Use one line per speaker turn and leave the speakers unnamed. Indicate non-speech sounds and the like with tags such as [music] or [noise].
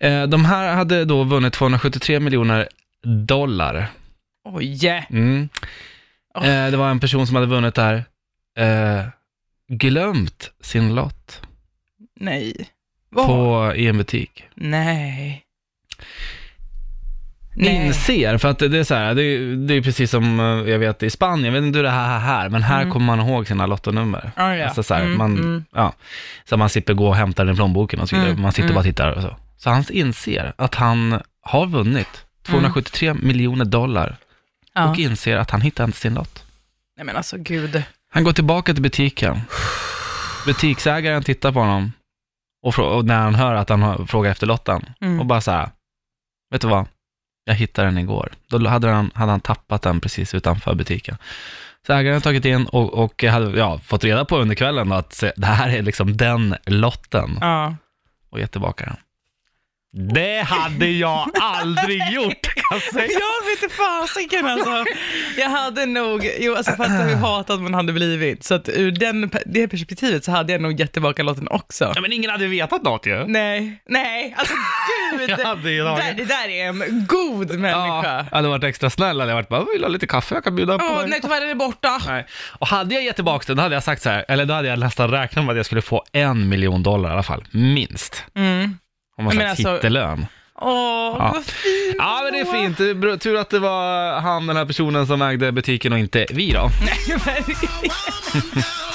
Eh, De här hade då vunnit 273 miljoner dollar.
Oj!
Mm.
Oh.
Eh, Det var en person som hade vunnit där, eh, glömt sin lott
Nej. Vad?
på, i en butik.
Nej. Nej.
Inser, för att det är så här, det är, det är precis som eh, jag vet i Spanien, jag vet inte hur det här är här, men här
Mm.
kommer man ihåg sina lottonummer.
Ja, ja.
Alltså så här,
Mm,
man-
mm.
Ja, så man slipper gå och hämta den i plånboken och så vidare.
Mm,
Man sitter
mm.
bara och tittar och så. Så han inser att han har
Mm.
vunnit 273 miljoner dollar
Ja.
och inser att han hittar inte sin lott.
Nej men alltså gud.
Han går tillbaka till butiken. Butiksägaren tittar på honom och, frå- och när han hör att han har, frågar efter lotten
Mm.
och bara så här, vet du vad? Jag hittade den igår. Då hade han, hade han tappat den precis utanför butiken. Så ägaren hade tagit in och, och hade ja, fått reda på under kvällen då att se, det här är liksom den lotten
Ja.
och gett tillbaka den. Det hade jag aldrig gjort, kan jag säga.
Jag vet inte fasiken alltså. Jag hade nog, jo alltså fatta hur hatad man hade blivit. Så att ur den, pe- det perspektivet så hade jag nog gett tillbaka låten också.
Ja, men ingen hade vetat något ju.
Nej, nej, alltså
[laughs]
gud.
Jag hade ju
där,
tagit.
det där är en god
Ja,
människa.
jag hade varit extra snäll, hade jag varit bara, "Jag vill ha lite kaffe, jag kan bjuda på
Åh
dig."
nej tyvärr den är borta.
Nej. Och hade jag gett tillbaka den, då hade jag sagt så här, eller då hade jag nästan räknat med att jag skulle få en miljon dollar i alla fall, minst.
Mm.
Om man sagt
Men alltså-
hittelön.
Åh,
Ja.
vad fint.
Ja men det är
ändå. [laughs]
fint, Det är bra- tur att det var han den här personen som ägde butiken och inte vi då.
Nej, verkligen.